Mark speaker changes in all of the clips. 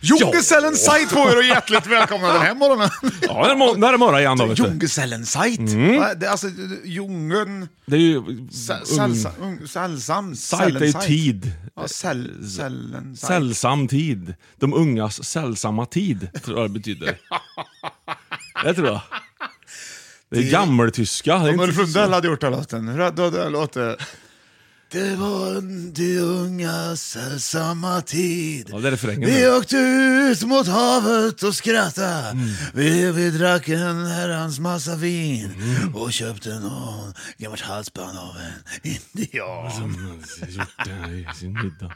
Speaker 1: Jungesellen Site på er och hjärtligt välkomna den här morgonen.
Speaker 2: Ja, det är mor- det här är morgon igen då. Vet du. Mm.
Speaker 1: Jungesellen Site. Va, det är Alltså, djungeln...
Speaker 2: Det är ju...
Speaker 1: se- Sällsam... ung- Sällsam...
Speaker 2: Sajt är ju
Speaker 1: Sällensite.
Speaker 2: tid.
Speaker 1: Ja, säll... Sällen...
Speaker 2: Sällsam tid. De ungas sällsamma tid, tror jag det betyder. Det tror jag. Det är gammeltyska. Det är
Speaker 1: Om
Speaker 2: inte
Speaker 1: Ulf
Speaker 2: så-
Speaker 1: Lundell hade gjort den här låten, hur hade den låtit? Det var de unga sällsamma tid.
Speaker 2: Ja, det är refrängen.
Speaker 1: Vi
Speaker 2: där.
Speaker 1: åkte ut mot havet och skrattade.
Speaker 2: Mm.
Speaker 1: Vi, vi drack en herrans massa vin och köpte någon gammalt halsband av en indian.
Speaker 2: Gjort det i sin middag.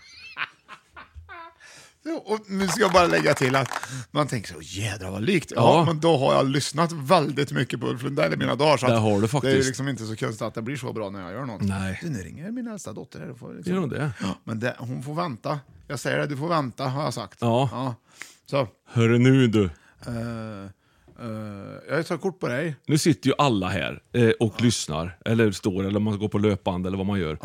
Speaker 1: Och nu ska jag bara lägga till att man tänker så jädra vad likt. Ja,
Speaker 2: Ja.
Speaker 1: men då har jag lyssnat väldigt mycket på Ulf Lundell i mina dagar. Så
Speaker 2: Det
Speaker 1: att
Speaker 2: har
Speaker 1: Det
Speaker 2: du
Speaker 1: är ju
Speaker 2: faktiskt.
Speaker 1: liksom inte så konstigt att det blir så bra när jag gör något.
Speaker 2: Nej.
Speaker 1: Du, nu ringer min äldsta dotter här. och Får liksom...
Speaker 2: Gör hon det?
Speaker 1: Ja, Men det, hon får vänta. Jag säger det, du får vänta har jag sagt.
Speaker 2: Ja.
Speaker 1: Så,
Speaker 2: Hörru nu du.
Speaker 1: eh, eh, jag tar kort på dig.
Speaker 2: Nu sitter ju alla här eh, och lyssnar, eller står, eller man går på löpband eller vad man gör.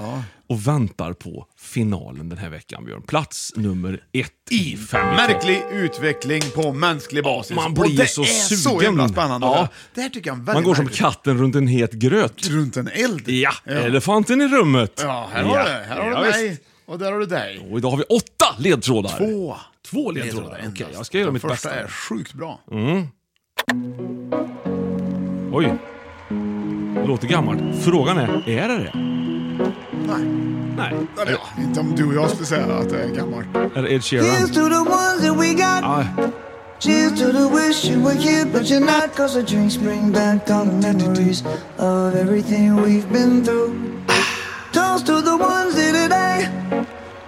Speaker 2: Och väntar på finalen den här veckan, Björn. Plats nummer ett i fem. i topp.
Speaker 1: Märklig utveckling på mänsklig basis.
Speaker 2: Man blir
Speaker 1: och det
Speaker 2: så
Speaker 1: är så
Speaker 2: sugen.
Speaker 1: jävla spännande.
Speaker 2: Ja.
Speaker 1: Ja. Det här tycker jag är väldigt
Speaker 2: Man går som
Speaker 1: märkligt.
Speaker 2: katten runt en het gröt.
Speaker 1: Runt en eld.
Speaker 2: Ja, elefanten i rummet.
Speaker 1: Ja, här har du. Här har
Speaker 2: ja,
Speaker 1: du
Speaker 2: visst.
Speaker 1: mig. Och där har du dig.
Speaker 2: Och idag har vi åtta ledtrådar.
Speaker 1: Två.
Speaker 2: Två ledtrådar. Okej,
Speaker 1: endast.
Speaker 2: jag ska göra
Speaker 1: Den
Speaker 2: mitt
Speaker 1: första
Speaker 2: bästa. Mm.
Speaker 1: är sjukt bra.
Speaker 2: Oj. Det låter gammalt. Frågan är, är det det?
Speaker 1: Nej.
Speaker 2: Nej.
Speaker 1: Eller ja, inte om du och jag skulle säga att det är gammalt.
Speaker 2: Är det Ed Sheeran?
Speaker 3: to the ones that we got.
Speaker 2: Ah,
Speaker 3: Cheers to the wish you were here, but you're not. Cause the drinks bring back all the memories of everything we've been through. Toast to the ones in today.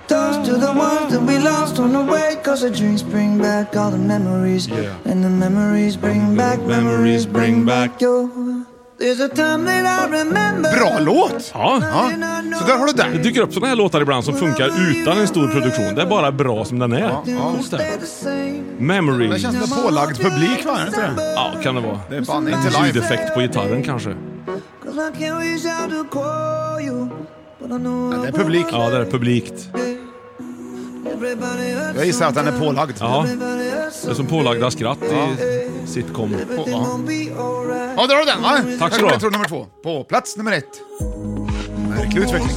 Speaker 3: Toast to the ones that we lost on the way. Cause the drinks bring back all the memories.
Speaker 2: Yeah.
Speaker 3: And the memories bring back
Speaker 2: memories
Speaker 3: memories,
Speaker 2: bring back.
Speaker 3: your. There's a time that I remember.
Speaker 1: Bra låt!
Speaker 2: ja.
Speaker 1: Ja. Så där har du
Speaker 2: Det
Speaker 1: den.
Speaker 2: dyker upp såna här låtar ibland som funkar utan en stor produktion. Det är bara bra som den är. Coolt det.
Speaker 3: They're the same.
Speaker 1: Det
Speaker 2: Memories.
Speaker 1: känns som en pålagd publik, va? Är det inte det?
Speaker 2: Ja, kan det vara.
Speaker 1: Det är fan inte live.
Speaker 2: Ljudeffekt på gitarren kanske.
Speaker 3: Cause I can't reach out to call you. But I know
Speaker 1: det är
Speaker 3: I
Speaker 1: publik.
Speaker 3: will.
Speaker 2: Ja, det är publikt.
Speaker 3: Everybody hurts
Speaker 1: Jag gissar att den är
Speaker 3: sometimes.
Speaker 1: pålagd.
Speaker 2: Ja,
Speaker 3: Everybody hurts
Speaker 2: det är som pålagda skratt i sitcom.
Speaker 3: sometimes.
Speaker 1: Ja.
Speaker 3: Gonna be alright.
Speaker 1: Ja, där har du den va?
Speaker 2: Tack ska
Speaker 1: Här
Speaker 2: du ha.
Speaker 1: kommer tror nummer två. På plats nummer ett. Märklig utveckling.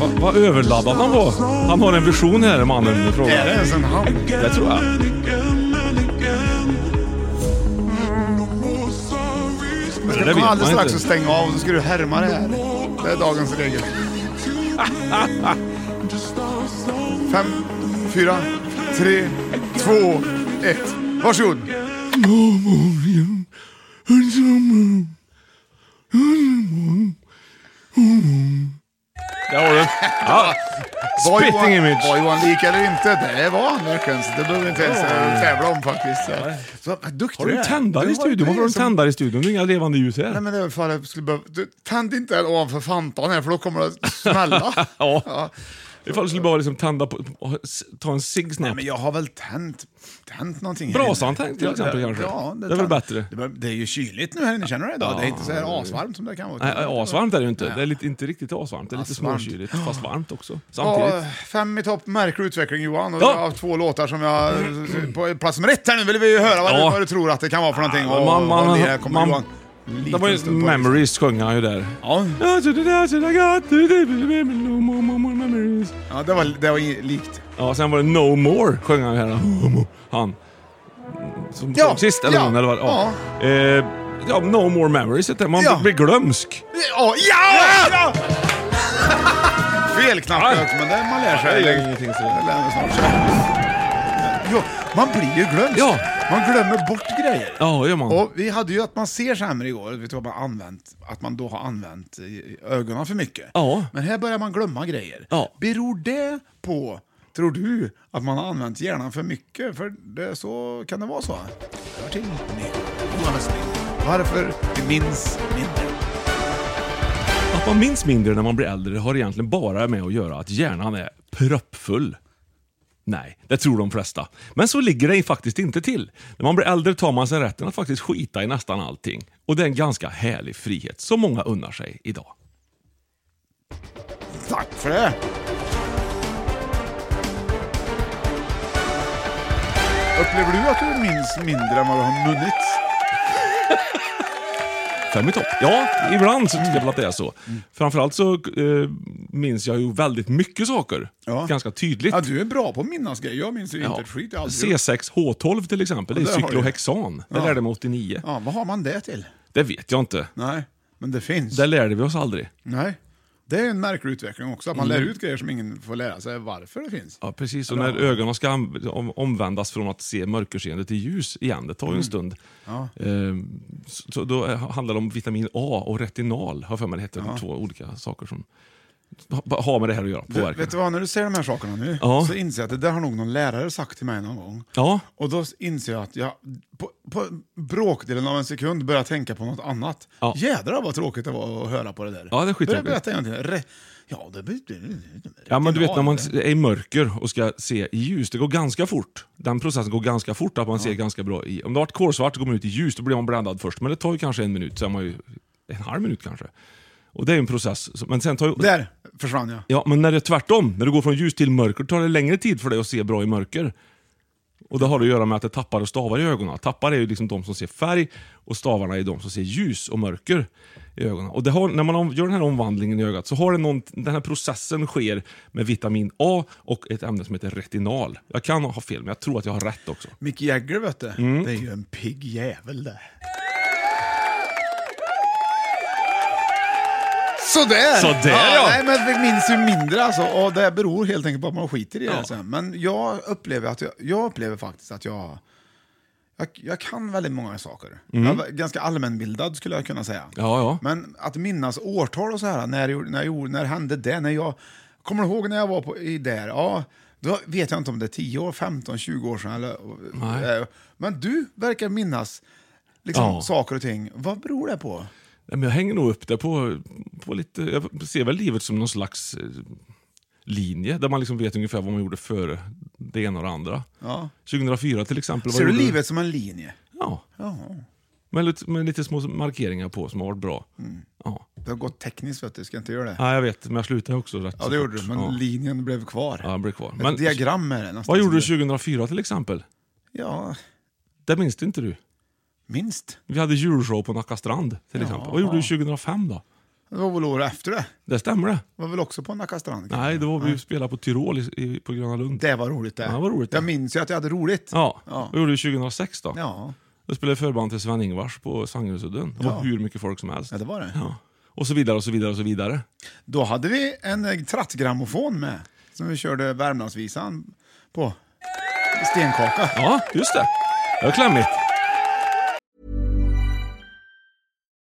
Speaker 2: Va- Vad överladdad han var. Han har en vision här, mannen i
Speaker 1: Är det
Speaker 2: fråga.
Speaker 1: ens en hand?
Speaker 2: Det tror jag.
Speaker 1: Men
Speaker 2: det
Speaker 1: du kommer
Speaker 2: vet
Speaker 1: alldeles
Speaker 2: man
Speaker 1: strax
Speaker 2: inte.
Speaker 1: att stänga av och så ska du härma det här. Det är dagens regel. Fem, fyra, tre, två, ett. Varsågod.
Speaker 2: Där har du. Ja.
Speaker 1: Var
Speaker 2: Spitting
Speaker 1: Johan,
Speaker 2: image.
Speaker 1: Var Johan lik eller inte? Det var han verkligen. så Det behöver vi inte ens eh, tävla om faktiskt. Så, så, vad duktig
Speaker 2: Har du
Speaker 1: är.
Speaker 2: en tändare i
Speaker 1: Det var
Speaker 2: studion? Varför har du en
Speaker 1: som-
Speaker 2: tändare i studion? Det är inga levande ljus
Speaker 1: liksom- Nej
Speaker 2: här.
Speaker 1: men det är för att jag skulle behöva... Du, tänd inte den ovanför fantan här för då kommer det att smälla.
Speaker 2: Ja. Ifall du skulle behöva liksom tända på, s- ta en cigg
Speaker 1: Nej,
Speaker 2: snabbt.
Speaker 1: men jag har väl tänt, tänt någonting. här
Speaker 2: Brasan
Speaker 1: inne.
Speaker 2: tänd till exempel kanske.
Speaker 1: Ja,
Speaker 2: Det är väl
Speaker 1: tänd-
Speaker 2: bättre.
Speaker 1: Det, bör- det är ju kyligt nu här inne, känner du det idag? det är inte så här asvarmt som det kan vara.
Speaker 2: Nej, asvarmt är det ju inte.
Speaker 1: Nej.
Speaker 2: Det är lite, inte riktigt asvarmt. Det är lite
Speaker 1: Asvarmt.
Speaker 2: småkyligt, fast varmt också.
Speaker 1: Ja,
Speaker 2: Samtidigt.
Speaker 1: fem i topp, märklig utveckling Johan. Och
Speaker 2: Ja.
Speaker 1: Jag har två låtar som jag... På plats nummer ett här nu vill vi ju höra vad,
Speaker 2: Ja.
Speaker 1: du, vad du tror att det kan vara för någonting.
Speaker 2: Ja,
Speaker 1: Och,
Speaker 2: man- man-
Speaker 1: vad det här kommer
Speaker 2: man-
Speaker 1: Johan.
Speaker 2: Det var ju Memories sjöng han ju där.
Speaker 1: Ja. ja, det var, det var i- likt.
Speaker 2: Ja, sen var det No More sjöng han ju här. Han. Som
Speaker 1: Ja,
Speaker 2: sjöng sist, eller
Speaker 1: ja,
Speaker 2: hon, eller vad ja. Eh, ja, No More Memories heter det. Man
Speaker 1: Ja.
Speaker 2: blir glömsk.
Speaker 1: Ja! ja! Fel knappt, men det man lär
Speaker 2: Ja, det
Speaker 1: sig.
Speaker 2: gör
Speaker 1: Det
Speaker 2: ingenting, så.
Speaker 1: lär man snart sig. Jo, man blir ju glömsk.
Speaker 2: Ja.
Speaker 1: Man glömmer bort grejer.
Speaker 2: Ja, gör man.
Speaker 1: Och vi hade ju att man ser sämre igår, vet du vad man använt, att man då har använt eh, ögonen för mycket.
Speaker 2: Ja.
Speaker 1: Men här börjar man glömma grejer.
Speaker 2: Ja.
Speaker 1: Beror det på, tror du, att man har använt hjärnan för mycket? För det, så kan det vara så. Hör till mer. Johan Westling. Varför vi minns mindre?
Speaker 2: Att man minns mindre när man blir äldre har egentligen bara med att göra att hjärnan är proppfull. Nej, det tror de flesta. Men så ligger det faktiskt inte till. När man blir äldre tar man sig rätten att faktiskt skita i nästan allting. Och det är en ganska härlig frihet som många unnar sig idag.
Speaker 1: Tack för det! Upplever du att du minns mindre än vad du har munnit?
Speaker 2: Fem i topp. Ja, ibland så tycker jag väl att det är så. Framförallt så eh, minns jag ju väldigt mycket saker.
Speaker 1: Ja.
Speaker 2: Ganska tydligt.
Speaker 1: Ja, du är bra på att minnas grejer. Jag minns ju inte ett skit. Jag har aldrig gjort.
Speaker 2: C6H12 till exempel,
Speaker 1: Ja,
Speaker 2: det är
Speaker 1: det har jag.
Speaker 2: cyklohexan. Det
Speaker 1: Ja.
Speaker 2: lärde mig 89.
Speaker 1: Ja, vad har man det till?
Speaker 2: Det vet jag inte.
Speaker 1: Nej, men det finns.
Speaker 2: Det lärde vi oss aldrig.
Speaker 1: Nej. Det är en märklig utveckling också, att man lär ut grejer som ingen får lära sig varför det finns.
Speaker 2: Mm. Ja, precis. Och när ögonen ska an- om- omvändas från att se mörkerseende till ljus igen, det tar
Speaker 1: Mm.
Speaker 2: ju en stund. Ehm, så, så då eh, handlar det om vitamin A och retinal, har jag för mig det heter. Två olika saker som ha- har med det här att göra.
Speaker 1: Du,
Speaker 2: Påverkan.
Speaker 1: vet du vad, när du ser de här sakerna nu,
Speaker 2: Ja.
Speaker 1: så inser jag att det där har nog någon lärare sagt till mig någon gång.
Speaker 2: Ja.
Speaker 1: Och då inser jag att jag på, på bråkdelen av en sekund börjar tänka på något annat.
Speaker 2: Ja.
Speaker 1: Jädrar vad tråkigt det var att höra på det där.
Speaker 2: Ja, det är skittråkigt.
Speaker 1: Börja berätta en gång till. Re- Ja, det blir...
Speaker 2: Ja, men du vet när man
Speaker 1: retinal.
Speaker 2: är i mörker och ska se i ljus, det går ganska fort. Den processen går ganska fort, att man ser ganska bra i. Om det har varit kolsvart så går man ut i ljus, då blir man bländad först. Men det tar ju kanske en minut, så är man ju en halv minut kanske. Och det är ju en process. som- Men sen tar ju...
Speaker 1: Där försvann jag.
Speaker 2: Ja, men när det är tvärtom, när du går från ljus till mörker, tar det längre tid för dig att se bra i mörker. Och det har att göra med att det tappar och stavar i ögonen. Tappar är ju liksom de som ser färg och stavarna är de som ser ljus och mörker i ögonen. Och det har, när man om- gör den här omvandlingen i ögat så har det någon, den här processen sker med vitamin A och ett ämne som heter retinal. Jag kan ha fel, men jag tror att jag har rätt också.
Speaker 1: Mick Jagger vet du, det är ju en pigg jävel det. Sådär!
Speaker 2: Sådär, ja.
Speaker 1: Nej, men vi minns ju mindre alltså. Och det beror helt enkelt på att man skiter i det. Sen. Men jag upplever, att jag, jag upplever faktiskt att jag, jag... Jag kan väldigt många saker. Jag är ganska allmänbildad skulle jag kunna säga.
Speaker 2: Mm. Ja, ja.
Speaker 1: Men att minnas årtal och så här, när, jag gjorde- när, jag, gjorde- när hände det? När jag, kommer du ihåg när jag var på, i där? Ja, då vet jag inte om det är 10 år, 15, 20 år sedan. Eller,
Speaker 2: Nej.
Speaker 1: eh, Men du verkar minnas liksom,
Speaker 2: Ja.
Speaker 1: saker och ting. Vad beror det på?
Speaker 2: Nej, men jag hänger nog upp det på, på lite... Jag ser väl livet som någon slags eh, linje, där man liksom vet ungefär vad man gjorde före det ena och det andra.
Speaker 1: Ja.
Speaker 2: 2004 till exempel. vad
Speaker 1: Ser du
Speaker 2: gjorde
Speaker 1: livet som en linje?
Speaker 2: Ja. Med, lite, med lite små markeringar på som har varit bra.
Speaker 1: Mm.
Speaker 2: Ja.
Speaker 1: Det har gått tekniskt, vet du. ska inte göra det.
Speaker 2: ja, jag vet. Men jag slutade också rätt
Speaker 1: Ja,
Speaker 2: så
Speaker 1: det gjorde
Speaker 2: fort.
Speaker 1: du, men
Speaker 2: ja.
Speaker 1: linjen blev kvar.
Speaker 2: Ja, den blev kvar.
Speaker 1: Ett
Speaker 2: Men-
Speaker 1: diagram är det nästan.
Speaker 2: Vad gjorde du
Speaker 1: som
Speaker 2: 2004 till exempel?
Speaker 1: det- Ja,
Speaker 2: Det minns inte du.
Speaker 1: minst.
Speaker 2: Vi hade julshow på Nacka strand till exempel. Vad gjorde du 2005 då?
Speaker 1: Det var väl året efter det.
Speaker 2: Det stämmer det?
Speaker 1: Det var väl också på Nacka strand? kanske?
Speaker 2: Nej, det var vi spelade på Tyrol i, i, på Gröna Lund.
Speaker 1: Det var roligt det.
Speaker 2: Ja, det var roligt det.
Speaker 1: Jag minns ju att jag hade roligt.
Speaker 2: Ja.
Speaker 1: Ja.
Speaker 2: Vad gjorde du 2006 då?
Speaker 1: Ja,
Speaker 2: Då spelade jag förband till Sven-Ingvars på Sangredsudden. Det var
Speaker 1: Ja.
Speaker 2: hur mycket folk som helst.
Speaker 1: ja, det var det.
Speaker 2: Ja. Och så vidare och så vidare och så vidare.
Speaker 1: Då hade vi en eh, trattgrammofon med, som vi körde Värmlandsvisan på. Stenkaka.
Speaker 2: Ja, just det. Det var klämmigt.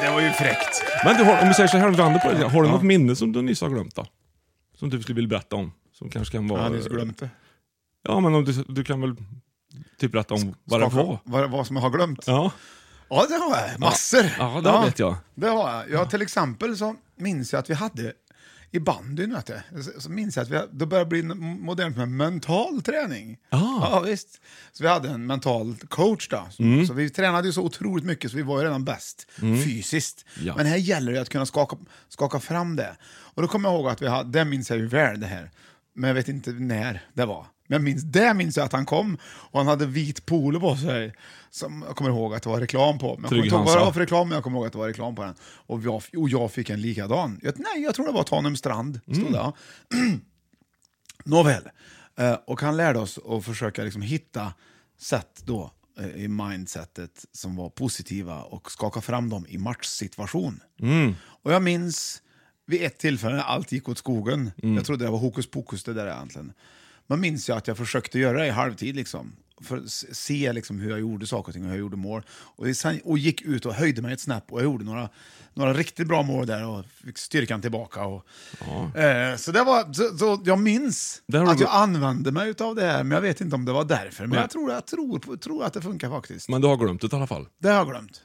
Speaker 1: Det var ju fräckt.
Speaker 2: Men du, har, om vi säger så här, om vi vänder på det. Har du något minne som du nyss har glömt då? Som du skulle vilja berätta om? Som kanske kan
Speaker 1: Jag
Speaker 2: vara...
Speaker 1: hade just glömt det.
Speaker 2: Ja, men om du, du kan väl typ berätta om vad det
Speaker 1: Skaka-
Speaker 2: var?
Speaker 1: Vad, vad som jag har glömt?
Speaker 2: Ja.
Speaker 1: Ja, det har jag. Massor.
Speaker 2: Ja, det vet jag.
Speaker 1: Det har jag. Ja, till exempel så minns jag att vi hade i bandyn, vet du, så- så minns jag att vi, då började det bli n- modernt med mental träning.
Speaker 2: Ah.
Speaker 1: Ja, visst. Så vi hade en mental coach då. Så, så vi tränade ju så otroligt mycket så vi var ju redan bäst fysiskt.
Speaker 2: Ja.
Speaker 1: Men här gäller det att kunna skaka, skaka fram det. Och då kommer jag ihåg att vi hade, det minns jag ju väl det här, men jag vet inte när det var. Men jag minns, det minns jag att han kom och han hade vit polo på sig. Som jag kommer ihåg att det var reklam på. Men jag kommer
Speaker 2: Trygg
Speaker 1: inte ihåg vad det
Speaker 2: Hansa.
Speaker 1: var för reklam, men jag kommer ihåg att det var reklam på den. Och jag, och jag fick en likadan. Jag, nej, jag tror det var Tanum strand. Stod
Speaker 2: Mm.
Speaker 1: det, ja. Nåväl. Eh, och han lärde oss att försöka liksom hitta sätt då eh, i mindsetet som var positiva och skaka fram dem i matchsituation.
Speaker 2: Mm.
Speaker 1: Och jag minns vid ett tillfälle när allt gick åt skogen.
Speaker 2: Mm.
Speaker 1: Jag trodde det var hokus pokus det där egentligen. Men minns jag att jag försökte göra det i halvtid liksom. För att s- se liksom hur jag gjorde saker och ting och hur jag gjorde mål. Och, sen, och gick ut och höjde mig ett snäpp och jag gjorde några, några riktigt bra mål där och fick styrkan tillbaka. Och, eh, så, det var, så, så jag minns
Speaker 2: Där har du
Speaker 1: att jag
Speaker 2: gått-
Speaker 1: använde mig av det här, men jag vet inte om det var därför. Men
Speaker 2: Nej.
Speaker 1: jag tror, jag tror, på- tror att det funkar faktiskt.
Speaker 2: Men du har glömt det i alla fall.
Speaker 1: Det har jag glömt.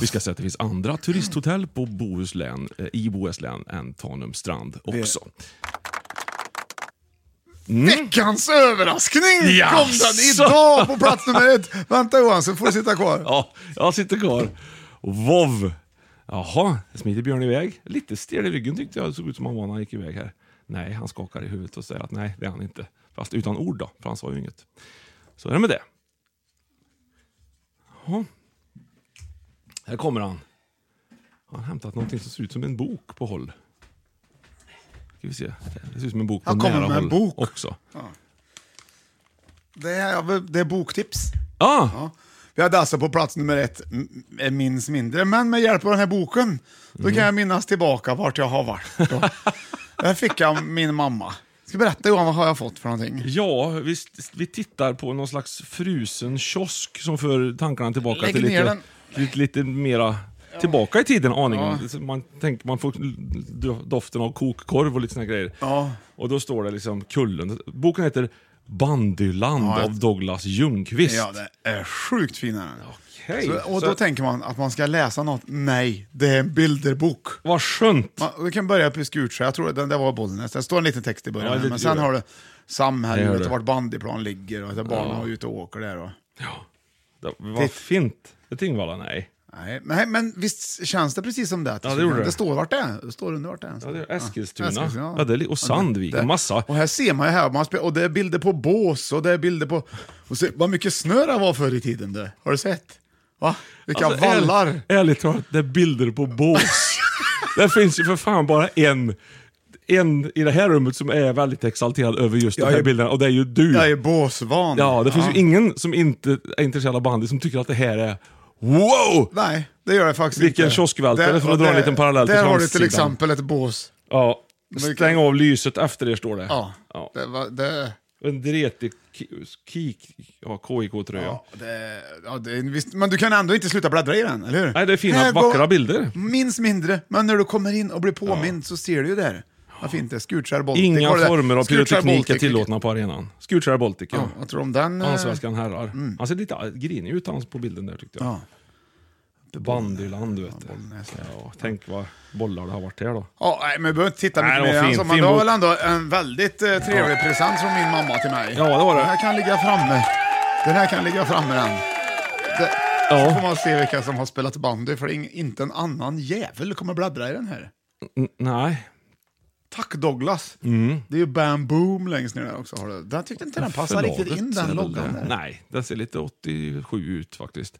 Speaker 2: Vi ska säga att det finns andra turisthotell på Bohuslän, eh, i Bohuslän än Tanum strand också.
Speaker 1: Veckans överraskning kom den
Speaker 2: Mm. Jaså?
Speaker 1: idag på plats nummer ett. Vänta Johan, så får du sitta kvar.
Speaker 2: Ja, jag sitter kvar. Vov! Jaha, smiter Björn iväg? Lite stel i ryggen tyckte jag det såg ut som han var när han gick iväg här. Nej, han skakar i huvudet och säger att nej, det är han inte. Fast utan ord då, för han sa ju inget. Så är det med det. Jaha. Här kommer han. Han har hämtat någonting som ser ut som en bok på håll. Ska vi se. Det ser ut som en bok på
Speaker 1: Han kommer
Speaker 2: nära
Speaker 1: med en
Speaker 2: håll
Speaker 1: bok.
Speaker 2: också.
Speaker 1: Det är, det är boktips.
Speaker 2: Ah,
Speaker 1: Ja. Vi hade alltså på plats nummer ett, m- m- minns mindre, men med hjälp av den här boken, då
Speaker 2: Mm.
Speaker 1: kan jag minnas tillbaka vart jag har varit. Och Där fick jag min mamma. Ska jag berätta Johan, vad har jag fått för någonting?
Speaker 2: Ja, vi, vi tittar på någon slags frusen kiosk som för tankarna tillbaka
Speaker 1: Lägg
Speaker 2: till
Speaker 1: ner
Speaker 2: lite,
Speaker 1: den.
Speaker 2: lite, lite mera tillbaka i tiden aningen. Så Man, tänker, man får do- doften av kokkorv och lite såna grejer.
Speaker 1: Ja.
Speaker 2: Och då står det liksom Kullen. Boken heter Bandyland
Speaker 1: Ja,
Speaker 2: av Douglas Ljungqvist.
Speaker 1: Ja, det är sjukt fin är den.
Speaker 2: Okej,
Speaker 1: Så- Och
Speaker 2: så-
Speaker 1: då tänker man att man ska läsa något. Nej, det är en bilderbok.
Speaker 2: Vad skönt!
Speaker 1: Man, du kan börja på Skutskär, jag tror att det var Bollnäs. Det står en liten text i början,
Speaker 2: Ja, det-
Speaker 1: men
Speaker 2: det
Speaker 1: sen
Speaker 2: gör
Speaker 1: har
Speaker 2: det.
Speaker 1: du
Speaker 2: Det gör
Speaker 1: samhället
Speaker 2: det.
Speaker 1: och vart bandyplan ligger och att barnen var ute och åker där. Och.
Speaker 2: Det, vad fint. Det är Tingvalla? Nej.
Speaker 1: Nej, men, nej, men visst känns det precis som det? att
Speaker 2: Ja, det gjorde det.
Speaker 1: det står vart det är. Det står under vart det är.
Speaker 2: Ja, det är Eskilstuna.
Speaker 1: Eskilstuna,
Speaker 2: Ja, det är li- och Sandvik,
Speaker 1: det-
Speaker 2: och massa.
Speaker 1: Och här ser man ju här, man spe- och det är bilder på bås och det är bilder på... Och se, vad mycket snö det var förr i tiden du. Har du sett? Va? Vilka
Speaker 2: Alltså, ärl-
Speaker 1: vallar.
Speaker 2: ärligt talat, det är bilder på bås. det finns ju för fan bara en, en i det här rummet som är väldigt exalterad över just de
Speaker 1: Jag
Speaker 2: här
Speaker 1: är-
Speaker 2: bilderna och det är ju du.
Speaker 1: Jag är båsvan.
Speaker 2: Ja, det finns ju ingen som inte är intresserad av bandy som tycker att det här är wow!
Speaker 1: Nej, det gör det faktiskt
Speaker 2: Vilken
Speaker 1: inte.
Speaker 2: kioskvältare,
Speaker 1: Där-
Speaker 2: för att
Speaker 1: och
Speaker 2: dra en
Speaker 1: där-
Speaker 2: liten parallell till
Speaker 1: Där har du till
Speaker 2: framsidan.
Speaker 1: exempel ett bås.
Speaker 2: Ja,
Speaker 1: Men-
Speaker 2: stäng av lyset efter er står det.
Speaker 1: Ja, det var... Det,
Speaker 2: En dretig ki- kik, ja, KIK-tröja.
Speaker 1: ja, det, ja, det, är en viss- men du kan ändå inte sluta bläddra i den, eller hur?
Speaker 2: Nej, det är fina,
Speaker 1: Här
Speaker 2: vackra
Speaker 1: går-
Speaker 2: bilder.
Speaker 1: Minns mindre, men när du kommer in och blir påmind så ser du ju där. Vad fint det är. Skutskär Baltic.
Speaker 2: Inga
Speaker 1: Var det där?
Speaker 2: former av
Speaker 1: Skutskär
Speaker 2: pyroteknik är
Speaker 1: Baltic.
Speaker 2: tillåtna på arenan. Skutskär Baltic, ja.
Speaker 1: Ja, vad tror du om den? eh,
Speaker 2: Allsvenskan herrar. Han ser lite grinig ut han på bilden där tyckte jag.
Speaker 1: Ja.
Speaker 2: Bandyland, du vet.
Speaker 1: Ja, Bollnäs.
Speaker 2: Ja, tänk vad bollar det har varit här då.
Speaker 1: Ja, nej, men vi behöver inte titta
Speaker 2: Nej,
Speaker 1: mycket
Speaker 2: det var
Speaker 1: mer än
Speaker 2: fint.
Speaker 1: så, men
Speaker 2: Fin
Speaker 1: det var
Speaker 2: bok.
Speaker 1: väl ändå en väldigt eh, trevlig present från min mamma till mig.
Speaker 2: Ja, det var det.
Speaker 1: Den här kan ligga framme. Den här kan ligga framme den. Det, Så får
Speaker 2: Ja.
Speaker 1: man se vilka som har spelat bandy, för det är ing- inte en annan jävel kommer bläddra i den här.
Speaker 2: N- nej.
Speaker 1: Tack Douglas.
Speaker 2: Mm.
Speaker 1: Det är ju Bamboom längst ner där också. Har du. Jag tyckte inte den passade riktigt in,
Speaker 2: Förlaget
Speaker 1: den
Speaker 2: är väl
Speaker 1: loggan
Speaker 2: det.
Speaker 1: där.
Speaker 2: Nej, den ser lite 87 ut faktiskt.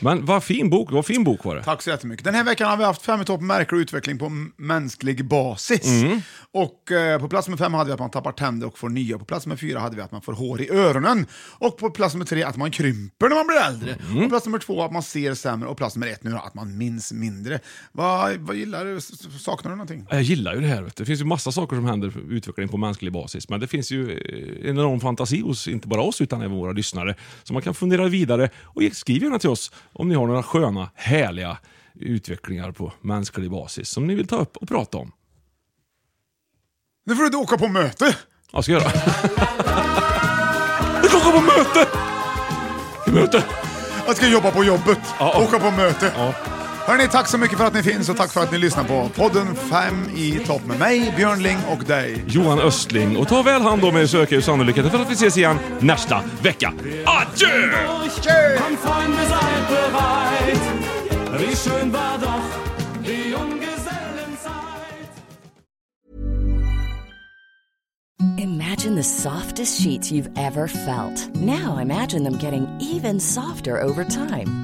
Speaker 2: Men vad fin bok, vad fin bok var det.
Speaker 1: Tack så jättemycket. Den här veckan har vi haft fem i topp märker och utveckling på m- mänsklig basis.
Speaker 2: Mm.
Speaker 1: Och eh, på plats nummer fem hade vi att man tappar tänder och får nya. På plats nummer fyra hade vi att man får hår i öronen. Och på plats nummer tre att man krymper när man blir äldre.
Speaker 2: Mm.
Speaker 1: Och på plats nummer två att man ser sämre. Och plats nummer ett nu då, att man minns mindre. Vad, vad gillar du? S- s- Saknar du någonting?
Speaker 2: Jag gillar ju det här. Vet du. Det finns ju massa saker som händer för utveckling på mänsklig basis. Men det finns ju eh, en enorm fantasi hos inte bara oss utan även våra lyssnare. Så man kan fundera vidare och skriv gärna till oss om ni har några sköna, härliga utvecklingar på mänsklig basis som ni vill ta upp och prata om.
Speaker 1: Nu får du inte åka på möte!
Speaker 2: Vad ska jag göra? Jag ska åka på möte! Till Möte!
Speaker 1: Jag ska jobba på jobbet.
Speaker 2: Ja.
Speaker 1: Åka på möte.
Speaker 2: Ja.
Speaker 1: Hörni, tack så mycket för att ni finns och tack för att ni lyssnar på podden Fem i topp med mig, Björn Ling och dig.
Speaker 2: Johan Östling. Och ta väl hand om er så ökar ju sannolikheten för att vi ses igen nästa vecka. Adjö!
Speaker 4: Komm, Freunde, seid bereit. Wie schön war doch die Junggesellenzeit.
Speaker 5: Imagine the softest sheets you've ever felt. Now imagine them getting even softer over time.